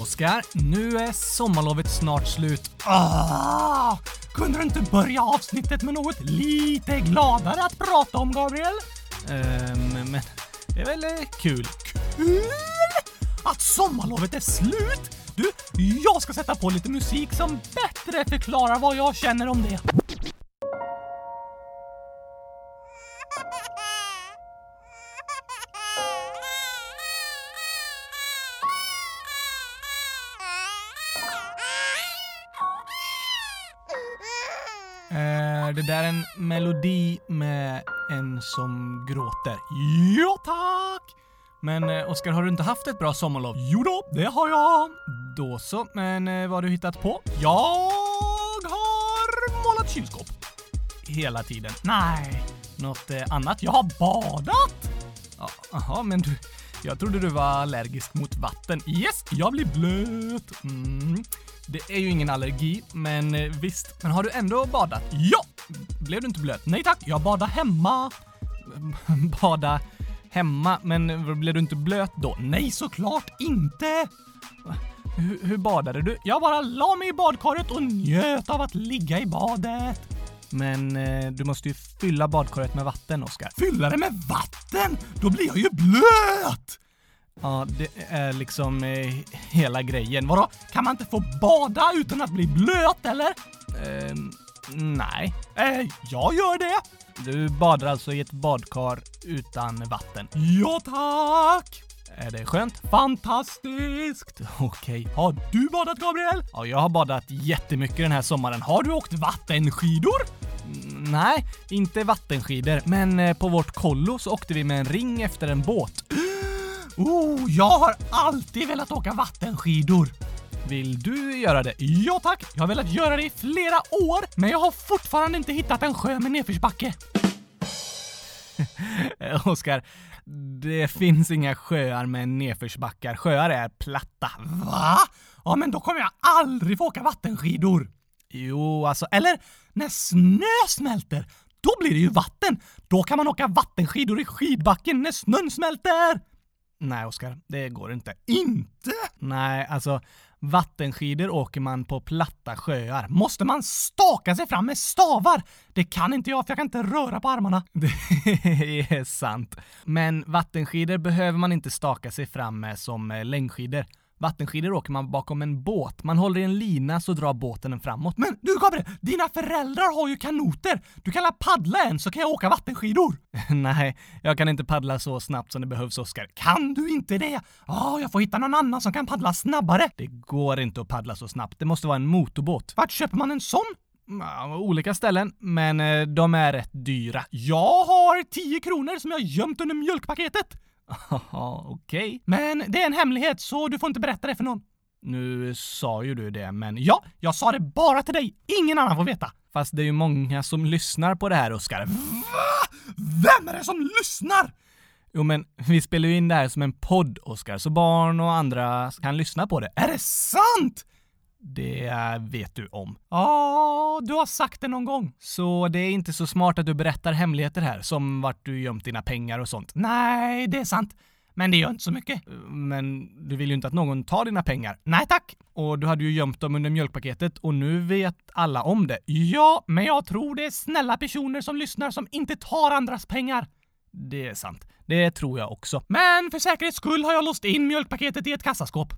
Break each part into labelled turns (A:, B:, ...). A: Oskar, nu är sommarlovet snart slut. Ah! Kunde du inte börja avsnittet med något lite gladare att prata om, Gabriel? Ehm, men det är väl eh, kul. Kul? Att sommarlovet är slut? Du, jag ska sätta på lite musik som bättre förklarar vad jag känner om det. Är Eh, det där en melodi med en som gråter? Ja, tack! Men eh, Oskar, har du inte haft ett bra sommarlov? Jo då, det har jag. Då så, men eh, vad har du hittat på? Jag har målat kylskåp. Hela tiden? Nej. Något eh, annat? Jag har badat! Ja, Jaha, men du... Jag trodde du var allergisk mot vatten. Yes, jag blir blöt! Mm. Det är ju ingen allergi, men eh, visst. Men har du ändå badat? Ja! Blev du inte blöt? Nej tack, jag badade hemma. Bada hemma, men blev du inte blöt då? Nej, såklart inte! Hur, hur badade du? Jag bara la mig i badkaret och njöt av att ligga i badet. Men eh, du måste ju fylla badkaret med vatten, Oskar. Fylla det med vatten? Då blir jag ju blöt! Ja, det är liksom eh, hela grejen. Vadå? Kan man inte få bada utan att bli blöt, eller? Ehm, nej. Eh, jag gör det! Du badar alltså i ett badkar utan vatten? Ja, tack! Är det skönt? Fantastiskt! Okej. Har du badat, Gabriel? Ja, jag har badat jättemycket den här sommaren. Har du åkt vattenskidor? Mm, Nej, inte vattenskidor, men eh, på vårt kollo så åkte vi med en ring efter en båt. Oh, jag har alltid velat åka vattenskidor! Vill du göra det? Ja tack! Jag har velat göra det i flera år, men jag har fortfarande inte hittat en sjö med nedförsbacke. Eh, Oskar, det finns inga sjöar med nedförsbackar. Sjöar är platta. Va? Ja, men då kommer jag aldrig få åka vattenskidor. Jo, alltså, eller när snö smälter, då blir det ju vatten. Då kan man åka vattenskidor i skidbacken när snön smälter. Nej, Oskar, det går inte. Inte? Nej, alltså vattenskidor åker man på platta sjöar. Måste man staka sig fram med stavar? Det kan inte jag, för jag kan inte röra på armarna. Det är sant. Men vattenskidor behöver man inte staka sig fram med som eh, längdskidor. Vattenskidor åker man bakom en båt. Man håller i en lina så drar båten en framåt. Men du Gabriel, dina föräldrar har ju kanoter! Du kan la paddla en så kan jag åka vattenskidor! Nej, jag kan inte paddla så snabbt som det behövs Oskar. Kan du inte det? Ja, jag får hitta någon annan som kan paddla snabbare. Det går inte att paddla så snabbt. Det måste vara en motorbåt. Vart köper man en sån? Ja, olika ställen, men eh, de är rätt dyra. Jag har 10 kronor som jag gömt under mjölkpaketet! Haha, okej. Men det är en hemlighet, så du får inte berätta det för någon. Nu sa ju du det, men ja, jag sa det bara till dig. Ingen annan får veta. Fast det är ju många som lyssnar på det här, Oskar. Va? Vem är det som lyssnar? Jo men vi spelar ju in det här som en podd, Oskar, så barn och andra kan lyssna på det. Är det sant? Det vet du om. Ja, du har sagt det någon gång. Så det är inte så smart att du berättar hemligheter här, som vart du gömt dina pengar och sånt. Nej, det är sant. Men det gör inte så mycket. Men du vill ju inte att någon tar dina pengar. Nej tack! Och du hade ju gömt dem under mjölkpaketet och nu vet alla om det. Ja, men jag tror det är snälla personer som lyssnar som inte tar andras pengar. Det är sant. Det tror jag också. Men för säkerhets skull har jag låst in mjölkpaketet i ett kassaskåp.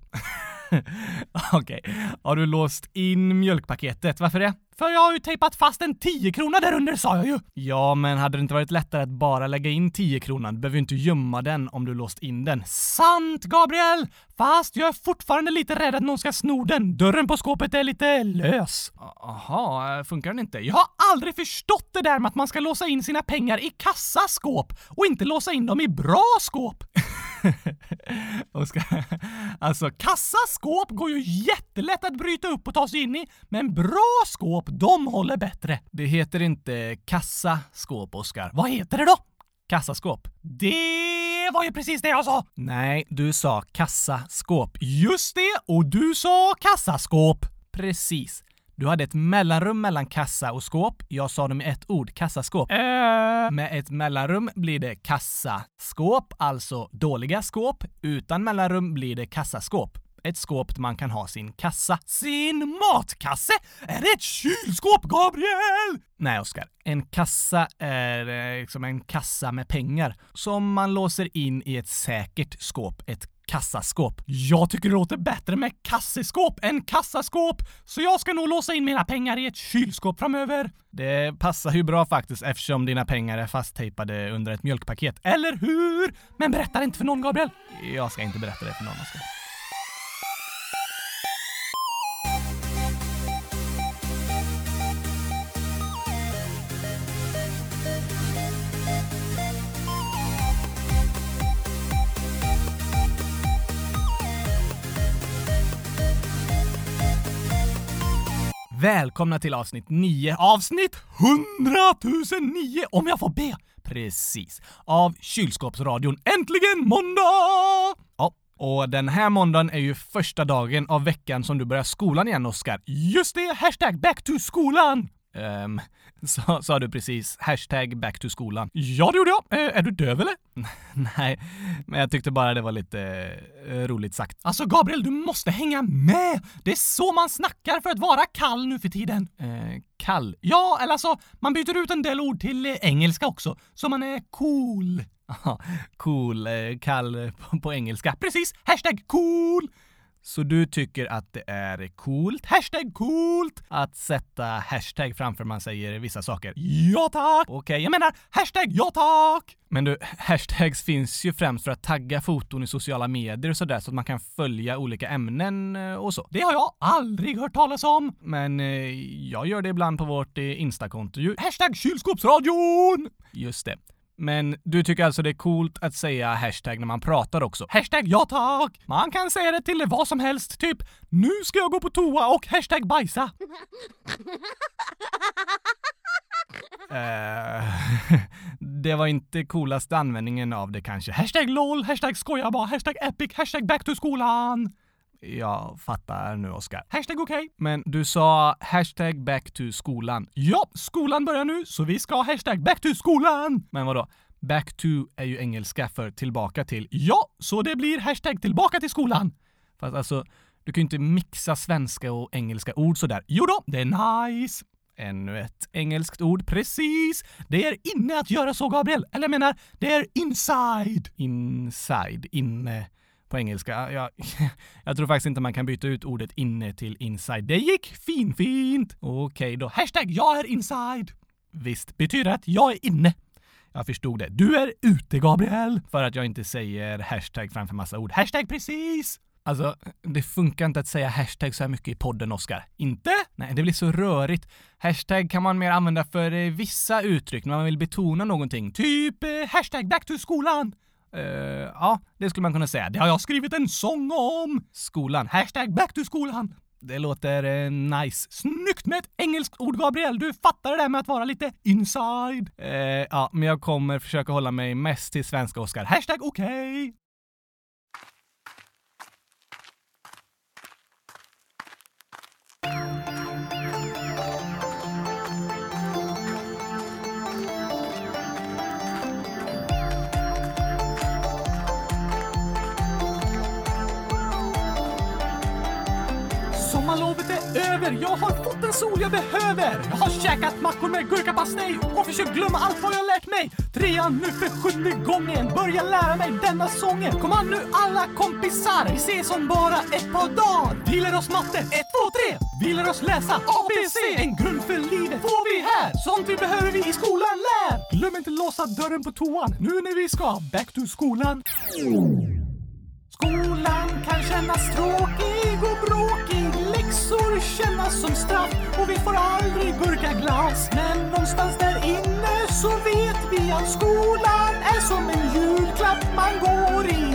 A: Okej. Har du låst in mjölkpaketet? Varför det? För jag har ju tejpat fast en 10-krona där under sa jag ju! Ja, men hade det inte varit lättare att bara lägga in 10-kronan? Du behöver ju inte gömma den om du låst in den. Sant, Gabriel! Fast jag är fortfarande lite rädd att någon ska sno den. Dörren på skåpet är lite lös. Aha, eh, funkar den inte? Jag har aldrig förstått det där med att man ska låsa in sina pengar i kassaskåp och inte låsa in dem i bra skåp. Oskar, alltså kassaskåp går ju jättelätt att bryta upp och ta sig in i, men bra skåp, de håller bättre. Det heter inte kassaskåp, Oskar. Vad heter det då? Kassaskåp. Det var ju precis det jag sa! Nej, du sa kassaskåp. Just det! Och du sa kassaskåp! Precis. Du hade ett mellanrum mellan kassa och skåp. Jag sa dem i ett ord, kassaskåp. Med ett mellanrum blir det kassaskåp, alltså dåliga skåp. Utan mellanrum blir det kassaskåp. Ett skåp där man kan ha sin kassa. Sin matkasse? Är det ett kylskåp, Gabriel? Nej, Oskar. En kassa är eh, liksom en kassa med pengar som man låser in i ett säkert skåp. Ett kassaskåp. Jag tycker det låter bättre med kasseskåp än kassaskåp, så jag ska nog låsa in mina pengar i ett kylskåp framöver. Det passar ju bra faktiskt eftersom dina pengar är fasttejpade under ett mjölkpaket, eller hur? Men berätta det inte för någon, Gabriel. Jag ska inte berätta det för någon, Oskar. Välkomna till avsnitt 9, avsnitt 100 009 om jag får be! Precis. Av Kylskåpsradion. Äntligen måndag! Ja, och den här måndagen är ju första dagen av veckan som du börjar skolan igen, Oskar. Just det! Hashtag back to skolan! Ehm, sa, sa du precis hashtag back to skolan? Ja, det gjorde jag. Eh, är du döv eller? Nej, men jag tyckte bara det var lite eh, roligt sagt. Alltså Gabriel, du måste hänga med! Det är så man snackar för att vara kall nu för tiden. Eh, kall? Ja, eller alltså, man byter ut en del ord till eh, engelska också, så man är cool. Ja, cool, eh, kall eh, på, på engelska. Precis! Hashtag cool! Så du tycker att det är coolt, hashtag coolt, att sätta hashtag framför man säger vissa saker? Ja tack! Okej, jag menar hashtag ja tack! Men du, hashtags finns ju främst för att tagga foton i sociala medier och sådär så att man kan följa olika ämnen eh, och så. Det har jag aldrig hört talas om! Men eh, jag gör det ibland på vårt eh, Instakonto ju. Hashtag kylskåpsradion! Just det. Men du tycker alltså det är coolt att säga hashtag när man pratar också? Hashtag ja tack! Man kan säga det till vad som helst, typ nu ska jag gå på toa och hashtag bajsa. Eh, det var inte coolaste användningen av det kanske. Hashtag LOL, hashtag skoja bara, hashtag epic, hashtag back to skolan. Jag fattar nu, Oskar. Hashtag okej. Men du sa hashtag back to skolan. Ja, skolan börjar nu, så vi ska ha hashtag back to skolan! Men vadå? Back to är ju engelska för tillbaka till. Ja, så det blir hashtag tillbaka till skolan! Fast alltså, du kan ju inte mixa svenska och engelska ord sådär. Jo då, det är nice! Ännu ett engelskt ord, precis! Det är inne att göra så, Gabriel. Eller jag menar, det är inside! Inside, inne på engelska. Jag, jag tror faktiskt inte man kan byta ut ordet inne till inside. Det gick finfint! Okej då. Hashtag jag är inside! Visst, betyder att jag är inne. Jag förstod det. Du är ute, Gabriel! För att jag inte säger hashtag framför massa ord. Hashtag precis! Alltså, det funkar inte att säga hashtag så här mycket i podden, Oskar. Inte? Nej, det blir så rörigt. Hashtag kan man mer använda för eh, vissa uttryck när man vill betona någonting. Typ eh, hashtag back to skolan! Eh, ja, det skulle man kunna säga. Det har jag skrivit en sång om! Skolan. Hashtag back to skolan. Det låter eh, nice. Snyggt med ett engelskt ord, Gabriel! Du fattar det där med att vara lite inside. Eh, ja, men jag kommer försöka hålla mig mest till svenska, Oscar. Hashtag okej! Sommarlovet är över, jag har fått den sol jag behöver. Jag har käkat mackor med gurkapastej och försökt glömma allt vad jag lärt mig. Trean nu för sjunde gången, börja lära mig denna sången. Kom an nu alla kompisar, vi ses om bara ett par dagar. Vi lär oss matte, ett, två, tre. Vi lär oss läsa ABC. En grund för livet får vi här. Sånt vi behöver vi i skolan lär. Glöm inte låsa dörren på toan nu när vi ska back to skolan. Skolan kan kännas tråkig och bråkig Läxor kännas som straff och vi får aldrig gurkaglass Men någonstans där inne så vet vi att skolan är som en julklapp man går i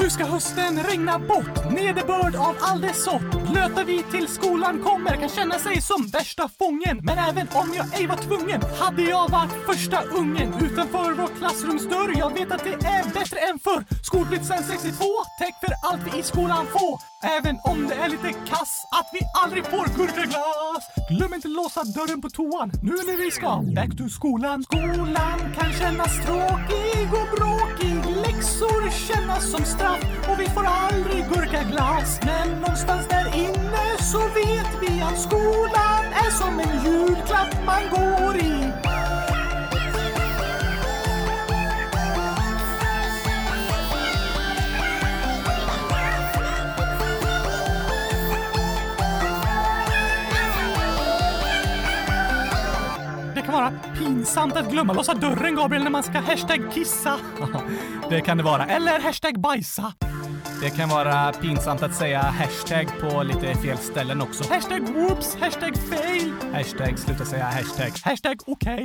A: Nu ska hösten regna bort, nederbörd av all dess sort. Blöta vi till skolan kommer, kan känna sig som värsta fången. Men även om jag ej var tvungen, hade jag varit första ungen utanför vår klassrumsdörr. Jag vet att det är bättre än förr. Skolplikt sen 62, täck för allt vi i skolan får. Även om det är lite kass att vi aldrig får gurkaglass. Glöm inte låsa dörren på toan nu när vi ska back to skolan. Skolan kan kännas tråkig och bråkig. Läxor kännas som straff och vi får aldrig gurkaglass. Men någonstans där inne så vet vi att skolan är som en julklapp man går i. Det kan vara pinsamt att glömma låsa dörren, Gabriel, när man ska hashtag kissa. det kan det vara. Eller hashtag bajsa. Det kan vara pinsamt att säga hashtag på lite fel ställen också. Hashtag whoops, hashtag fail, hashtag sluta säga hashtag, hashtag okej.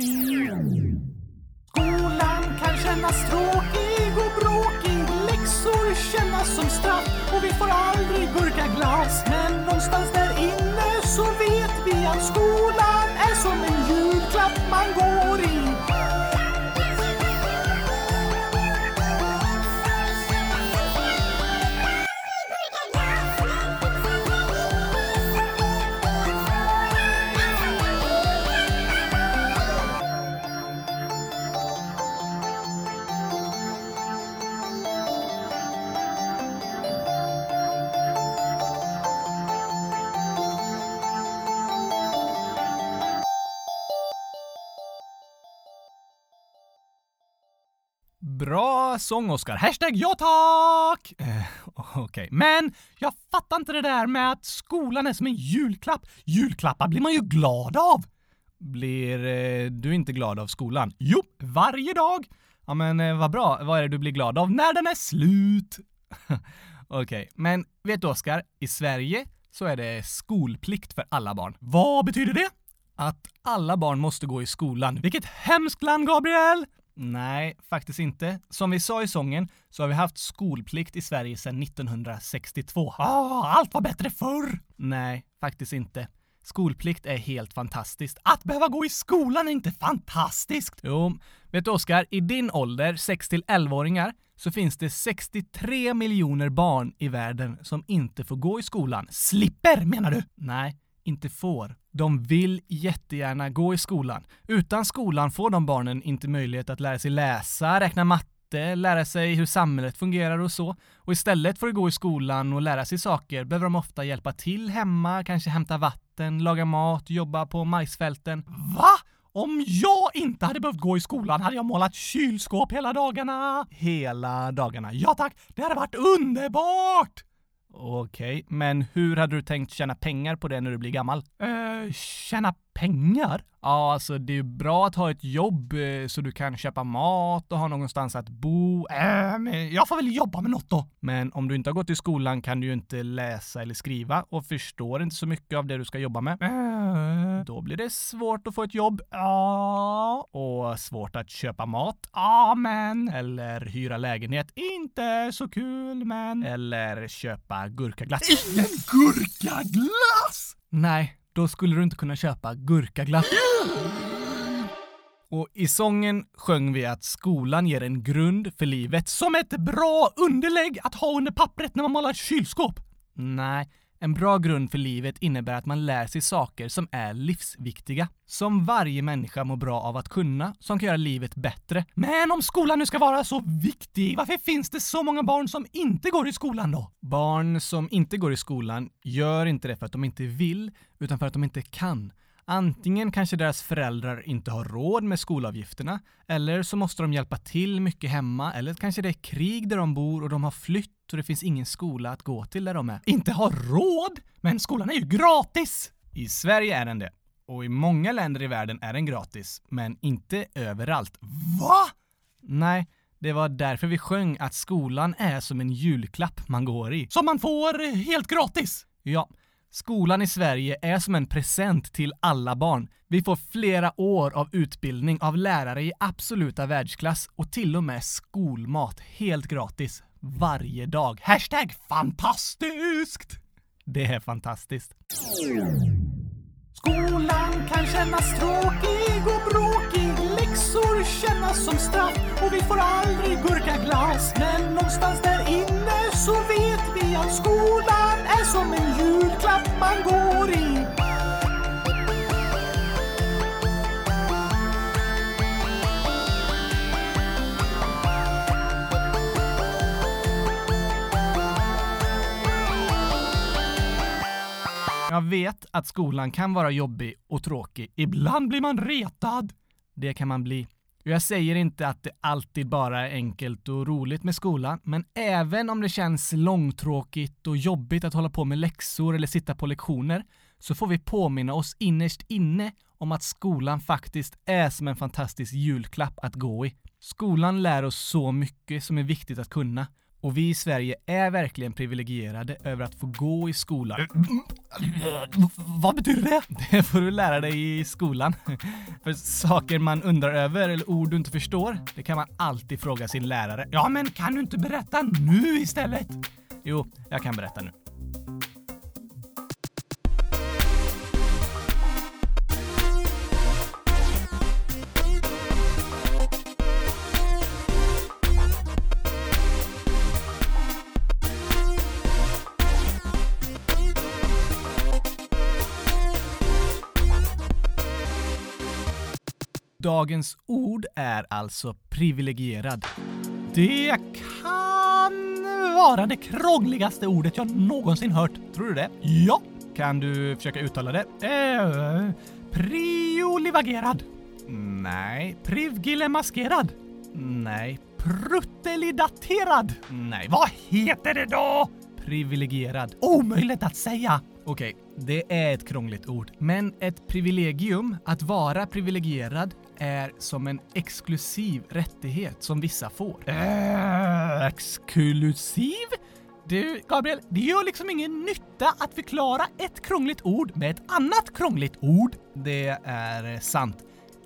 A: Skolan kan kännas tråkig och bråkig. Läxor kännas som straff och vi får aldrig gurkaglass. Men någonstans där inne så vet vi att skolan är som en julklapp man går i. Bra sång, Oscar. Hashtag ja tack! Eh, Okej, men jag fattar inte det där med att skolan är som en julklapp. Julklappar blir man ju glad av. Blir eh, du inte glad av skolan? Jo, varje dag. Ja, men eh, vad bra. Vad är det du blir glad av när den är slut? Okej, men vet du Oscar? I Sverige så är det skolplikt för alla barn. Vad betyder det? Att alla barn måste gå i skolan. Vilket hemskt land, Gabriel! Nej, faktiskt inte. Som vi sa i sången så har vi haft skolplikt i Sverige sedan 1962. Ah, allt var bättre förr! Nej, faktiskt inte. Skolplikt är helt fantastiskt. Att behöva gå i skolan är inte fantastiskt! Jo, vet du Oskar, i din ålder, 6 till 11-åringar, så finns det 63 miljoner barn i världen som inte får gå i skolan. Slipper, menar du? Nej, inte får. De vill jättegärna gå i skolan. Utan skolan får de barnen inte möjlighet att lära sig läsa, räkna matte, lära sig hur samhället fungerar och så. Och istället för att gå i skolan och lära sig saker behöver de ofta hjälpa till hemma, kanske hämta vatten, laga mat, jobba på majsfälten. Va? Om jag inte hade behövt gå i skolan hade jag målat kylskåp hela dagarna. Hela dagarna. Ja tack, det hade varit underbart! Okej, men hur hade du tänkt tjäna pengar på det när du blir gammal? Eh, tjäna pengar? Ja, alltså det är ju bra att ha ett jobb eh, så du kan köpa mat och ha någonstans att bo. Eh, men jag får väl jobba med något då. Men om du inte har gått i skolan kan du ju inte läsa eller skriva och förstår inte så mycket av det du ska jobba med. Då blir det svårt att få ett jobb. Ja. Och svårt att köpa mat. Amen. Eller hyra lägenhet. Inte så kul, men. Eller köpa gurkaglass. Ingen gurkaglass! Nej, då skulle du inte kunna köpa gurkaglass. Och i sången sjöng vi att skolan ger en grund för livet som ett bra underlägg att ha under pappret när man målar kylskåp. Nej, en bra grund för livet innebär att man lär sig saker som är livsviktiga. Som varje människa mår bra av att kunna, som kan göra livet bättre. Men om skolan nu ska vara så viktig, varför finns det så många barn som inte går i skolan då? Barn som inte går i skolan gör inte det för att de inte vill, utan för att de inte kan. Antingen kanske deras föräldrar inte har råd med skolavgifterna, eller så måste de hjälpa till mycket hemma, eller kanske det är krig där de bor och de har flytt och det finns ingen skola att gå till där de är. Inte har råd? Men skolan är ju gratis! I Sverige är den det. Och i många länder i världen är den gratis, men inte överallt. Va? Nej, det var därför vi sjöng att skolan är som en julklapp man går i. Som man får helt gratis! Ja. Skolan i Sverige är som en present till alla barn. Vi får flera år av utbildning av lärare i absoluta världsklass och till och med skolmat helt gratis varje dag. Hashtag fantastiskt! Det är fantastiskt. Skolan kan kännas tråkig och bråkig Läxor kännas som straff och vi får aldrig gurkaglass Men någonstans där inne
B: så vet vi att skolan är som en julklapp man går i.
A: Jag vet att skolan kan vara jobbig och tråkig. Ibland blir man retad. Det kan man bli. Jag säger inte att det alltid bara är enkelt och roligt med skolan, men även om det känns långtråkigt och jobbigt att hålla på med läxor eller sitta på lektioner, så får vi påminna oss innerst inne om att skolan faktiskt är som en fantastisk julklapp att gå i. Skolan lär oss så mycket som är viktigt att kunna. Och vi i Sverige är verkligen privilegierade över att få gå i skolan. Vad betyder det? Det får du lära dig i skolan. För saker man undrar över eller ord du inte förstår, det kan man alltid fråga sin lärare. Ja, men kan du inte berätta nu istället? Jo, jag kan berätta nu. Dagens ord är alltså privilegierad. Det kan vara det krångligaste ordet jag någonsin hört. Tror du det? Ja. Kan du försöka uttala det? Eh, priolivagerad. Nej. Privgilemaskerad. Nej. Pruttelidaterad. Nej. Vad heter det då? Privilegierad. Omöjligt att säga. Okej, det är ett krångligt ord. Men ett privilegium, att vara privilegierad, är som en exklusiv rättighet som vissa får. Äh, exklusiv? Du, Gabriel, det gör liksom ingen nytta att förklara ett krångligt ord med ett annat krångligt ord. Det är sant.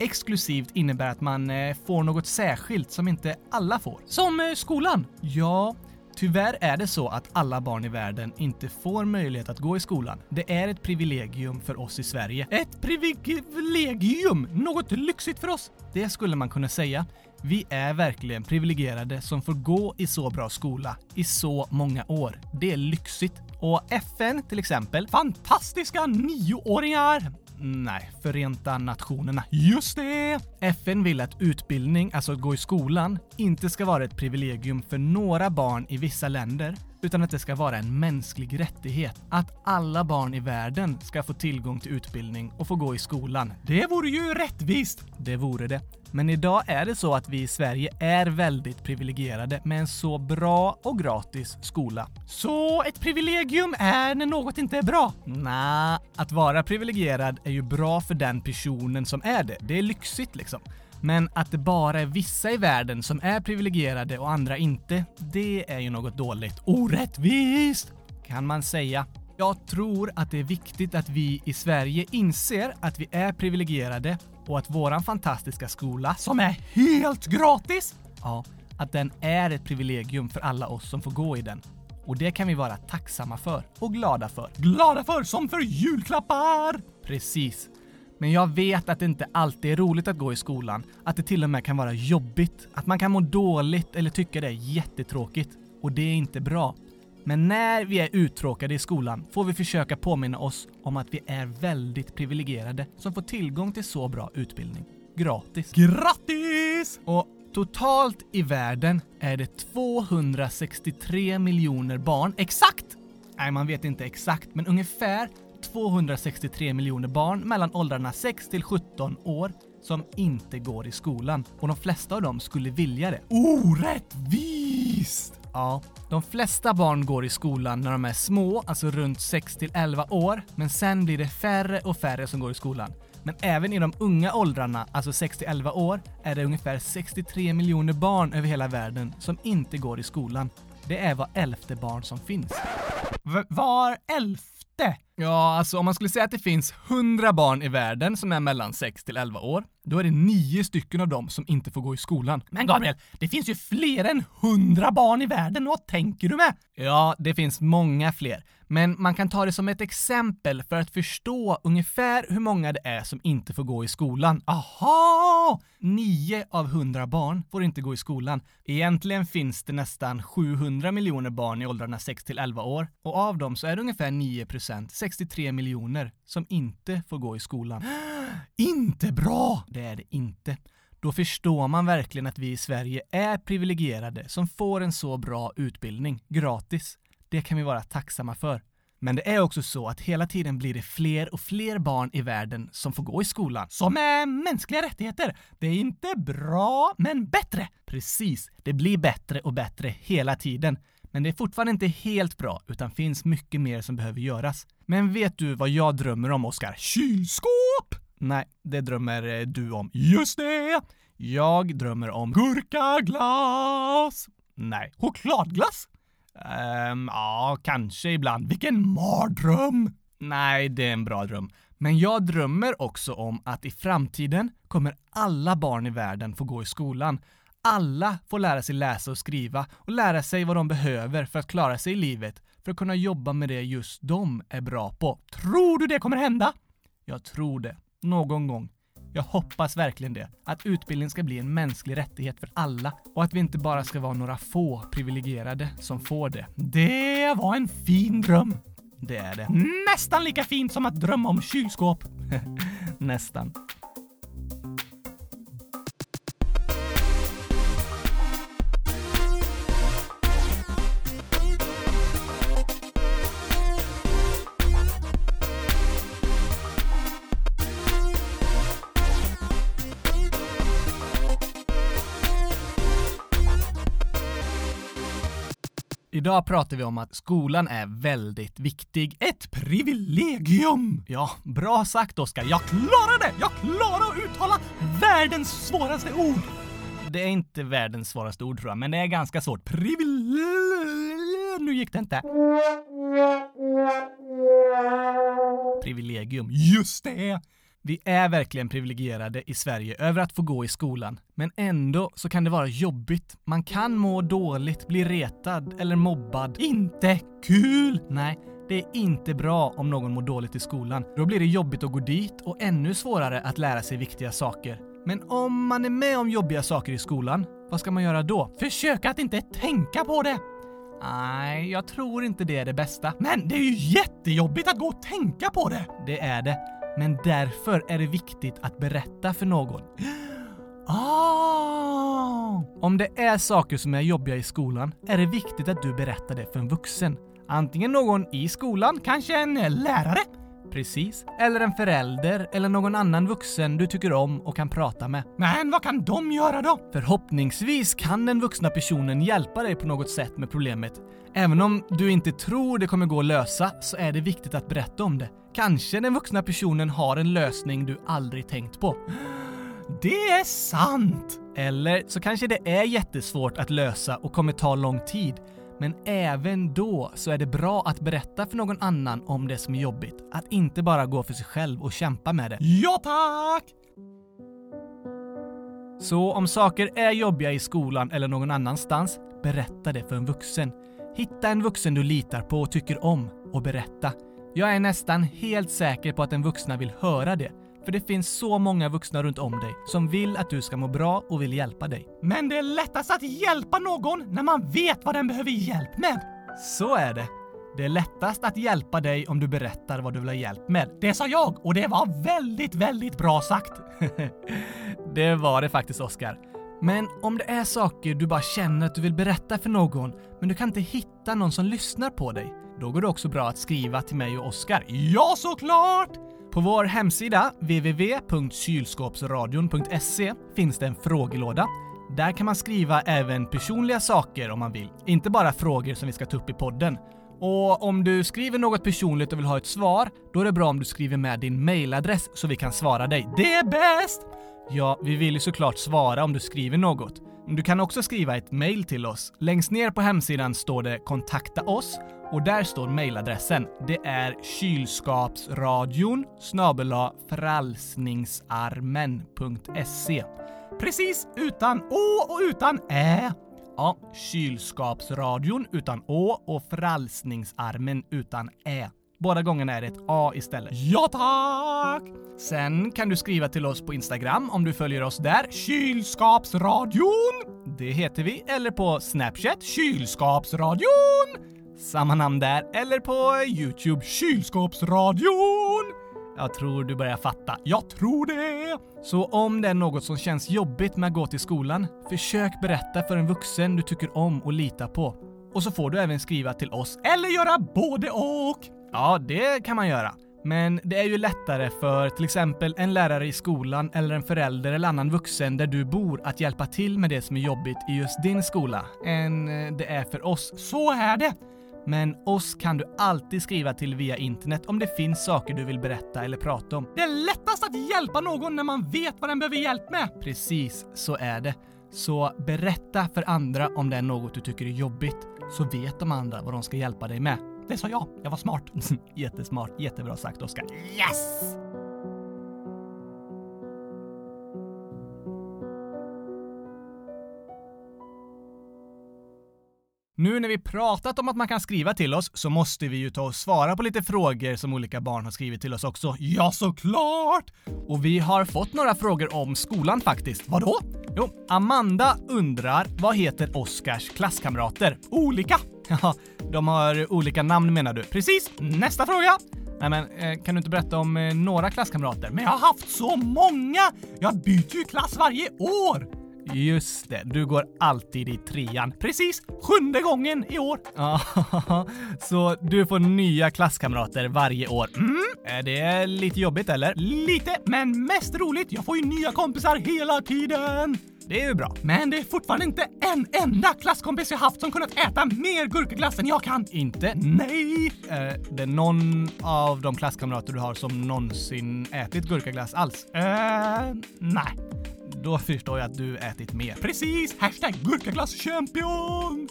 A: Exklusivt innebär att man eh, får något särskilt som inte alla får. Som eh, skolan! Ja, tyvärr är det så att alla barn i världen inte får möjlighet att gå i skolan. Det är ett privilegium för oss i Sverige. Ett privilegium! Något lyxigt för oss! Det skulle man kunna säga. Vi är verkligen privilegierade som får gå i så bra skola i så många år. Det är lyxigt. Och FN till exempel, fantastiska nioåringar! Nej, Förenta Nationerna. Just det! FN vill att utbildning, alltså att gå i skolan, inte ska vara ett privilegium för några barn i vissa länder, utan att det ska vara en mänsklig rättighet. Att alla barn i världen ska få tillgång till utbildning och få gå i skolan. Det vore ju rättvist! Det vore det. Men idag är det så att vi i Sverige är väldigt privilegierade med en så bra och gratis skola. Så ett privilegium är när något inte är bra? Nej, att vara privilegierad är ju bra för den personen som är det. Det är lyxigt liksom. Men att det bara är vissa i världen som är privilegierade och andra inte, det är ju något dåligt. Orättvist! kan man säga. Jag tror att det är viktigt att vi i Sverige inser att vi är privilegierade och att våran fantastiska skola, som är helt gratis, ja, att den är ett privilegium för alla oss som får gå i den. Och det kan vi vara tacksamma för och glada för. Glada för som för julklappar! Precis. Men jag vet att det inte alltid är roligt att gå i skolan, att det till och med kan vara jobbigt, att man kan må dåligt eller tycka det är jättetråkigt. Och det är inte bra. Men när vi är uttråkade i skolan får vi försöka påminna oss om att vi är väldigt privilegierade som får tillgång till så bra utbildning. Gratis. Grattis! Och totalt i världen är det 263 miljoner barn, exakt Nej, man vet inte exakt, men ungefär 263 miljoner barn mellan åldrarna 6 till 17 år som inte går i skolan. Och de flesta av dem skulle vilja det. Orättvist! Ja, de flesta barn går i skolan när de är små, alltså runt 6 till 11 år, men sen blir det färre och färre som går i skolan. Men även i de unga åldrarna, alltså 6 till 11 år, är det ungefär 63 miljoner barn över hela världen som inte går i skolan. Det är vad elfte barn som finns. V- var elfte? Ja, alltså om man skulle säga att det finns 100 barn i världen som är mellan 6 till 11 år, då är det nio stycken av dem som inte får gå i skolan. Men Gabriel, det finns ju fler än 100 barn i världen, vad tänker du med? Ja, det finns många fler. Men man kan ta det som ett exempel för att förstå ungefär hur många det är som inte får gå i skolan. Aha! 9 av 100 barn får inte gå i skolan. Egentligen finns det nästan 700 miljoner barn i åldrarna 6 till 11 år och av dem så är det ungefär 9 procent, 63 miljoner, som inte får gå i skolan. inte bra! Det är det inte då förstår man verkligen att vi i Sverige är privilegierade som får en så bra utbildning gratis. Det kan vi vara tacksamma för. Men det är också så att hela tiden blir det fler och fler barn i världen som får gå i skolan. Som är mänskliga rättigheter. Det är inte bra, men bättre! Precis, det blir bättre och bättre hela tiden. Men det är fortfarande inte helt bra, utan finns mycket mer som behöver göras. Men vet du vad jag drömmer om, Oskar? Kylskåp! Nej, det drömmer eh, du om. Just det! Jag drömmer om gurkaglass! Nej, chokladglass? Ehm, ja, kanske ibland. Vilken mardröm! Nej, det är en bra dröm. Men jag drömmer också om att i framtiden kommer alla barn i världen få gå i skolan. Alla får lära sig läsa och skriva och lära sig vad de behöver för att klara sig i livet, för att kunna jobba med det just de är bra på. Tror du det kommer hända? Jag tror det. Någon gång. Jag hoppas verkligen det. Att utbildning ska bli en mänsklig rättighet för alla och att vi inte bara ska vara några få privilegierade som får det. Det var en fin dröm! Det är det. Nästan lika fint som att drömma om kylskåp. Nästan. Idag pratar vi om att skolan är väldigt viktig. Ett privilegium! Ja, bra sagt Oskar. Jag klarar det! Jag klarar att uttala världens svåraste ord! Det är inte världens svåraste ord tror jag, men det är ganska svårt. Privil... Nu gick det inte. Privilegium. Just det! Vi är verkligen privilegierade i Sverige över att få gå i skolan, men ändå så kan det vara jobbigt. Man kan må dåligt, bli retad eller mobbad. Inte kul! Nej, det är inte bra om någon mår dåligt i skolan. Då blir det jobbigt att gå dit och ännu svårare att lära sig viktiga saker. Men om man är med om jobbiga saker i skolan, vad ska man göra då? Försök att inte tänka på det! Nej, jag tror inte det är det bästa. Men det är ju jättejobbigt att gå och tänka på det! Det är det. Men därför är det viktigt att berätta för någon. Ah! Om det är saker som är jobbiga i skolan är det viktigt att du berättar det för en vuxen. Antingen någon i skolan, kanske en lärare. Precis. Eller en förälder eller någon annan vuxen du tycker om och kan prata med. Men vad kan de göra då? Förhoppningsvis kan den vuxna personen hjälpa dig på något sätt med problemet. Även om du inte tror det kommer gå att lösa så är det viktigt att berätta om det. Kanske den vuxna personen har en lösning du aldrig tänkt på. Det är sant! Eller så kanske det är jättesvårt att lösa och kommer ta lång tid. Men även då så är det bra att berätta för någon annan om det som är jobbigt. Att inte bara gå för sig själv och kämpa med det. Ja tack! Så om saker är jobbiga i skolan eller någon annanstans, berätta det för en vuxen. Hitta en vuxen du litar på och tycker om och berätta. Jag är nästan helt säker på att den vuxna vill höra det. För det finns så många vuxna runt om dig som vill att du ska må bra och vill hjälpa dig. Men det är lättast att hjälpa någon när man vet vad den behöver hjälp med. Så är det. Det är lättast att hjälpa dig om du berättar vad du vill ha hjälp med. Det sa jag och det var väldigt, väldigt bra sagt. det var det faktiskt, Oskar. Men om det är saker du bara känner att du vill berätta för någon, men du kan inte hitta någon som lyssnar på dig, då går det också bra att skriva till mig och Oskar. Ja, såklart! På vår hemsida www.kylskåpsradion.se finns det en frågelåda. Där kan man skriva även personliga saker om man vill, inte bara frågor som vi ska ta upp i podden. Och om du skriver något personligt och vill ha ett svar, då är det bra om du skriver med din mailadress så vi kan svara dig. Det är bäst! Ja, vi vill ju såklart svara om du skriver något. Men Du kan också skriva ett mejl till oss. Längst ner på hemsidan står det “Kontakta oss” och där står mejladressen. Det är kylskapsradion snabel-a frälsningsarmen.se. Precis utan å och utan ä. Ja, kylskapsradion utan å och frälsningsarmen utan ä. Båda gångerna är det ett a istället. Ja tack! Sen kan du skriva till oss på Instagram om du följer oss där. Kylskapsradion! Det heter vi. Eller på Snapchat, Kylskapsradion! Samma namn där. Eller på Youtube, Kylskåpsradion! Jag tror du börjar fatta. Jag tror det! Så om det är något som känns jobbigt med att gå till skolan, försök berätta för en vuxen du tycker om och litar på. Och så får du även skriva till oss, eller göra både och! Ja, det kan man göra. Men det är ju lättare för till exempel en lärare i skolan eller en förälder eller annan vuxen där du bor att hjälpa till med det som är jobbigt i just din skola än eh, det är för oss. Så är det! Men oss kan du alltid skriva till via internet om det finns saker du vill berätta eller prata om. Det är lättast att hjälpa någon när man vet vad den behöver hjälp med! Precis, så är det. Så berätta för andra om det är något du tycker är jobbigt, så vet de andra vad de ska hjälpa dig med. Det sa jag, jag var smart. Jättesmart, jättebra sagt Oskar. Yes! Nu när vi pratat om att man kan skriva till oss så måste vi ju ta och svara på lite frågor som olika barn har skrivit till oss också. Ja, såklart! Och vi har fått några frågor om skolan faktiskt. Vadå? Jo, Amanda undrar vad heter Oskars klasskamrater? Olika! Ja, de har olika namn menar du. Precis! Nästa fråga! Nej men, eh, kan du inte berätta om eh, några klasskamrater? Men jag har haft så många! Jag byter ju klass varje år! Just det, du går alltid i trean. Precis, sjunde gången i år! Ja, så du får nya klasskamrater varje år. Mm, är det lite jobbigt eller? Lite, men mest roligt! Jag får ju nya kompisar hela tiden! Det är ju bra. Men det är fortfarande inte en enda klasskompis jag haft som kunnat äta mer gurkaglass än jag kan. Inte? Nej! Är det någon av de klasskamrater du har som någonsin ätit gurkaglass alls? Eh, nej. Då förstår jag att du ätit mer. Precis! Hashtag gurkaglasschampion!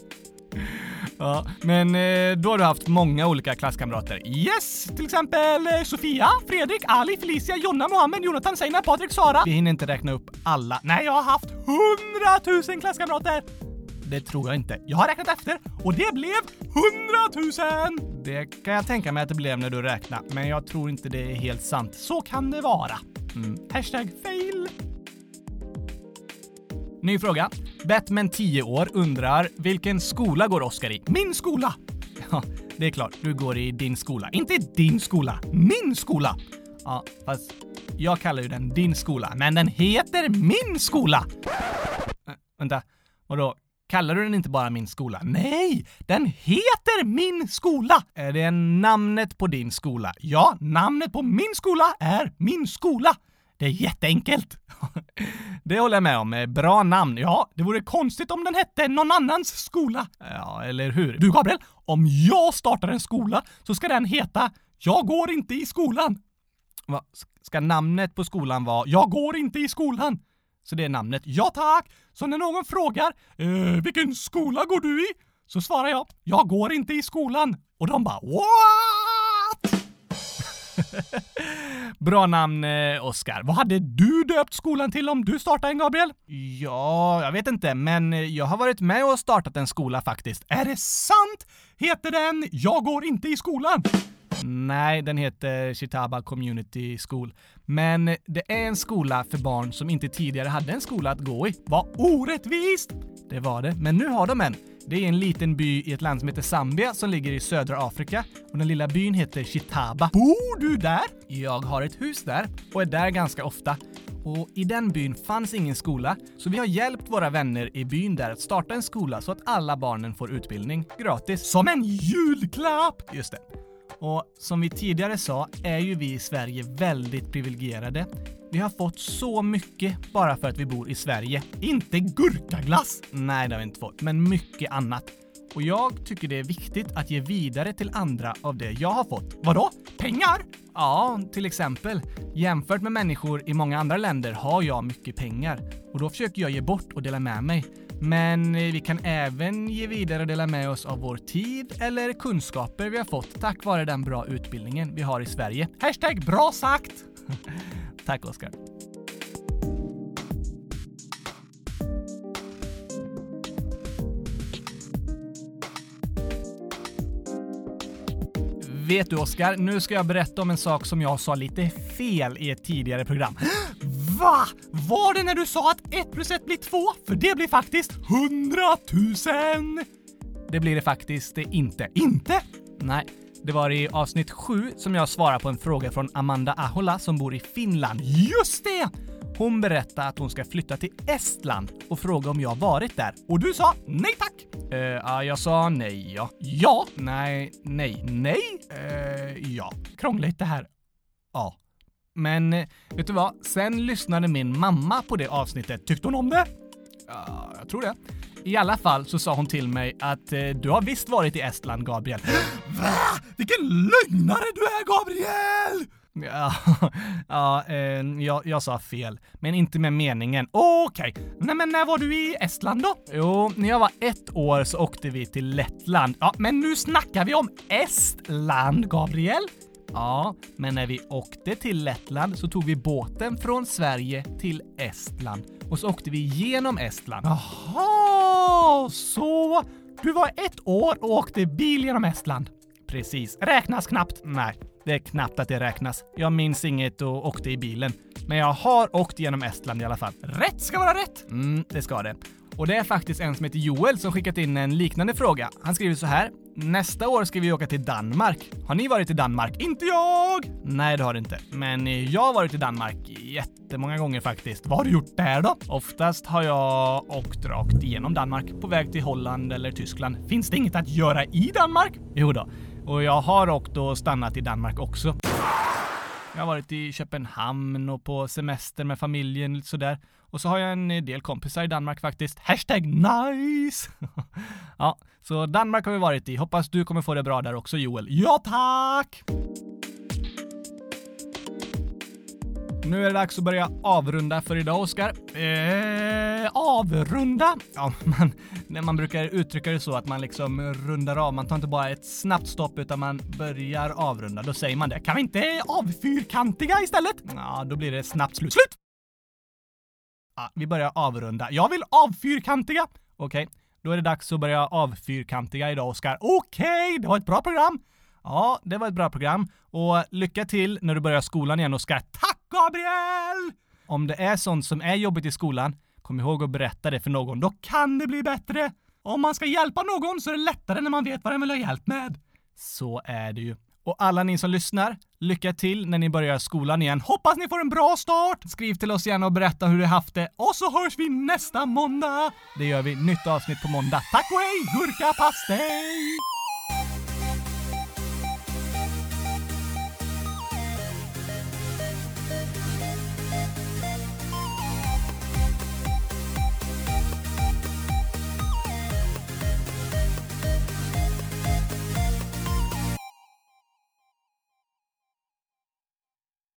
A: Ja, men eh, då har du haft många olika klasskamrater. Yes! Till exempel eh, Sofia, Fredrik, Ali, Felicia, Jonna, Mohammed, Jonathan, Seinar, Patrik, Sara. Vi hinner inte räkna upp alla. Nej, jag har haft hundratusen klasskamrater! Det tror jag inte. Jag har räknat efter och det blev hundratusen! Det kan jag tänka mig att det blev när du räknade, men jag tror inte det är helt sant. Så kan det vara. Mm. Hashtag fail. Ny fråga. Batman 10 år undrar vilken skola går Oscar i? Min skola! Ja, det är klart. Du går i din skola. Inte din skola. Min skola! Ja, fast jag kallar ju den din skola, men den heter min skola! Äh, vänta, vadå? Kallar du den inte bara min skola? Nej, den heter min skola! Är det namnet på din skola? Ja, namnet på min skola är min skola! Det är jätteenkelt! Det håller jag med om. Eh, Bra namn. Ja, det vore konstigt om den hette någon annans skola. Ja, eller hur? Du Gabriel, om jag startar en skola så ska den heta Jag går inte i skolan. Va? S- Ska namnet på skolan vara Jag går inte i skolan? Så det är namnet. Ja tack! Så när någon frågar eh, Vilken skola går du i? Så svarar jag Jag går inte i skolan. Och de bara What? Bra namn, eh, Oscar. Vad hade du döpt skolan till om du startade en, Gabriel? Ja, jag vet inte, men eh, jag har varit med och startat en skola faktiskt. Är det sant? Heter den Jag går inte i skolan? Nej, den heter Chitaba Community School. Men det är en skola för barn som inte tidigare hade en skola att gå i. Vad orättvist! Det var det, men nu har de en. Det är en liten by i ett land som heter Zambia som ligger i södra Afrika och den lilla byn heter Chitaba. Bor du där? Jag har ett hus där och är där ganska ofta. Och i den byn fanns ingen skola, så vi har hjälpt våra vänner i byn där att starta en skola så att alla barnen får utbildning gratis. Som en julklapp! Just det. Och som vi tidigare sa är ju vi i Sverige väldigt privilegierade. Vi har fått så mycket bara för att vi bor i Sverige. Inte gurkaglass! Nej, det har vi inte fått, men mycket annat. Och jag tycker det är viktigt att ge vidare till andra av det jag har fått. Vadå? Pengar? Ja, till exempel. Jämfört med människor i många andra länder har jag mycket pengar och då försöker jag ge bort och dela med mig. Men eh, vi kan även ge vidare och dela med oss av vår tid eller kunskaper vi har fått tack vare den bra utbildningen vi har i Sverige. Hashtag bra sagt! tack Oskar. Vet du Oskar, nu ska jag berätta om en sak som jag sa lite fel i ett tidigare program. Va? Var det när du sa att 1 plus 1 blir 2? För det blir faktiskt 100 000! Det blir det faktiskt inte. Inte? Nej. Det var i avsnitt 7 som jag svarade på en fråga från Amanda Ahola som bor i Finland. Just det! Hon berättade att hon ska flytta till Estland och fråga om jag varit där. Och du sa nej tack! Eh, ja, jag sa nej ja. Ja? Nej, nej, nej? Eh, ja. Krångligt det här. Ja. Men eh, vet du vad? Sen lyssnade min mamma på det avsnittet. Tyckte hon om det? Ja, jag tror det. I alla fall så sa hon till mig att eh, du har visst varit i Estland, Gabriel. Va? Vilken lögnare du är, Gabriel! Ja, ja eh, jag, jag sa fel. Men inte med meningen. Okej. Nej, men när var du i Estland då? Jo, när jag var ett år så åkte vi till Lettland. Ja, men nu snackar vi om Estland, Gabriel. Ja, men när vi åkte till Lettland så tog vi båten från Sverige till Estland och så åkte vi genom Estland. Jaha, så du var ett år och åkte bil genom Estland? Precis. Räknas knappt. Nej, det är knappt att det räknas. Jag minns inget och åkte i bilen. Men jag har åkt genom Estland i alla fall. Rätt ska vara rätt! Mm, det ska det. Och det är faktiskt en som heter Joel som skickat in en liknande fråga. Han skriver så här. Nästa år ska vi åka till Danmark. Har ni varit i Danmark? Inte jag! Nej, det har du inte. Men jag har varit i Danmark jättemånga gånger faktiskt. Vad har du gjort där då? Oftast har jag åkt rakt igenom Danmark på väg till Holland eller Tyskland. Finns det inget att göra i Danmark? Jo då. Och jag har åkt och stannat i Danmark också. Jag har varit i Köpenhamn och på semester med familjen lite sådär. Och så har jag en del kompisar i Danmark faktiskt. Hashtag nice! ja, så Danmark har vi varit i. Hoppas du kommer få det bra där också Joel. Ja tack! Nu är det dags att börja avrunda för idag, Oskar. Eh, avrunda? Ja, man, när man brukar uttrycka det så att man liksom rundar av. Man tar inte bara ett snabbt stopp utan man börjar avrunda. Då säger man det. Kan vi inte avfyrkantiga istället? Ja, då blir det snabbt slut. Slut! Ja, Ah, vi börjar avrunda. Jag vill avfyrkantiga! Okej, då är det dags att börja avfyrkantiga idag, Oskar. Okej, det var ett bra program! Ja, det var ett bra program. Och lycka till när du börjar skolan igen, Oskar. Tack, Gabriel! Om det är sånt som är jobbigt i skolan, kom ihåg att berätta det för någon. Då kan det bli bättre! Om man ska hjälpa någon så är det lättare när man vet vad den vill ha hjälp med. Så är det ju. Och alla ni som lyssnar, lycka till när ni börjar skolan igen. Hoppas ni får en bra start! Skriv till oss gärna och berätta hur du haft det. Och så hörs vi nästa måndag! Det gör vi. Nytt avsnitt på måndag. Tack och hej! Gurka pastej!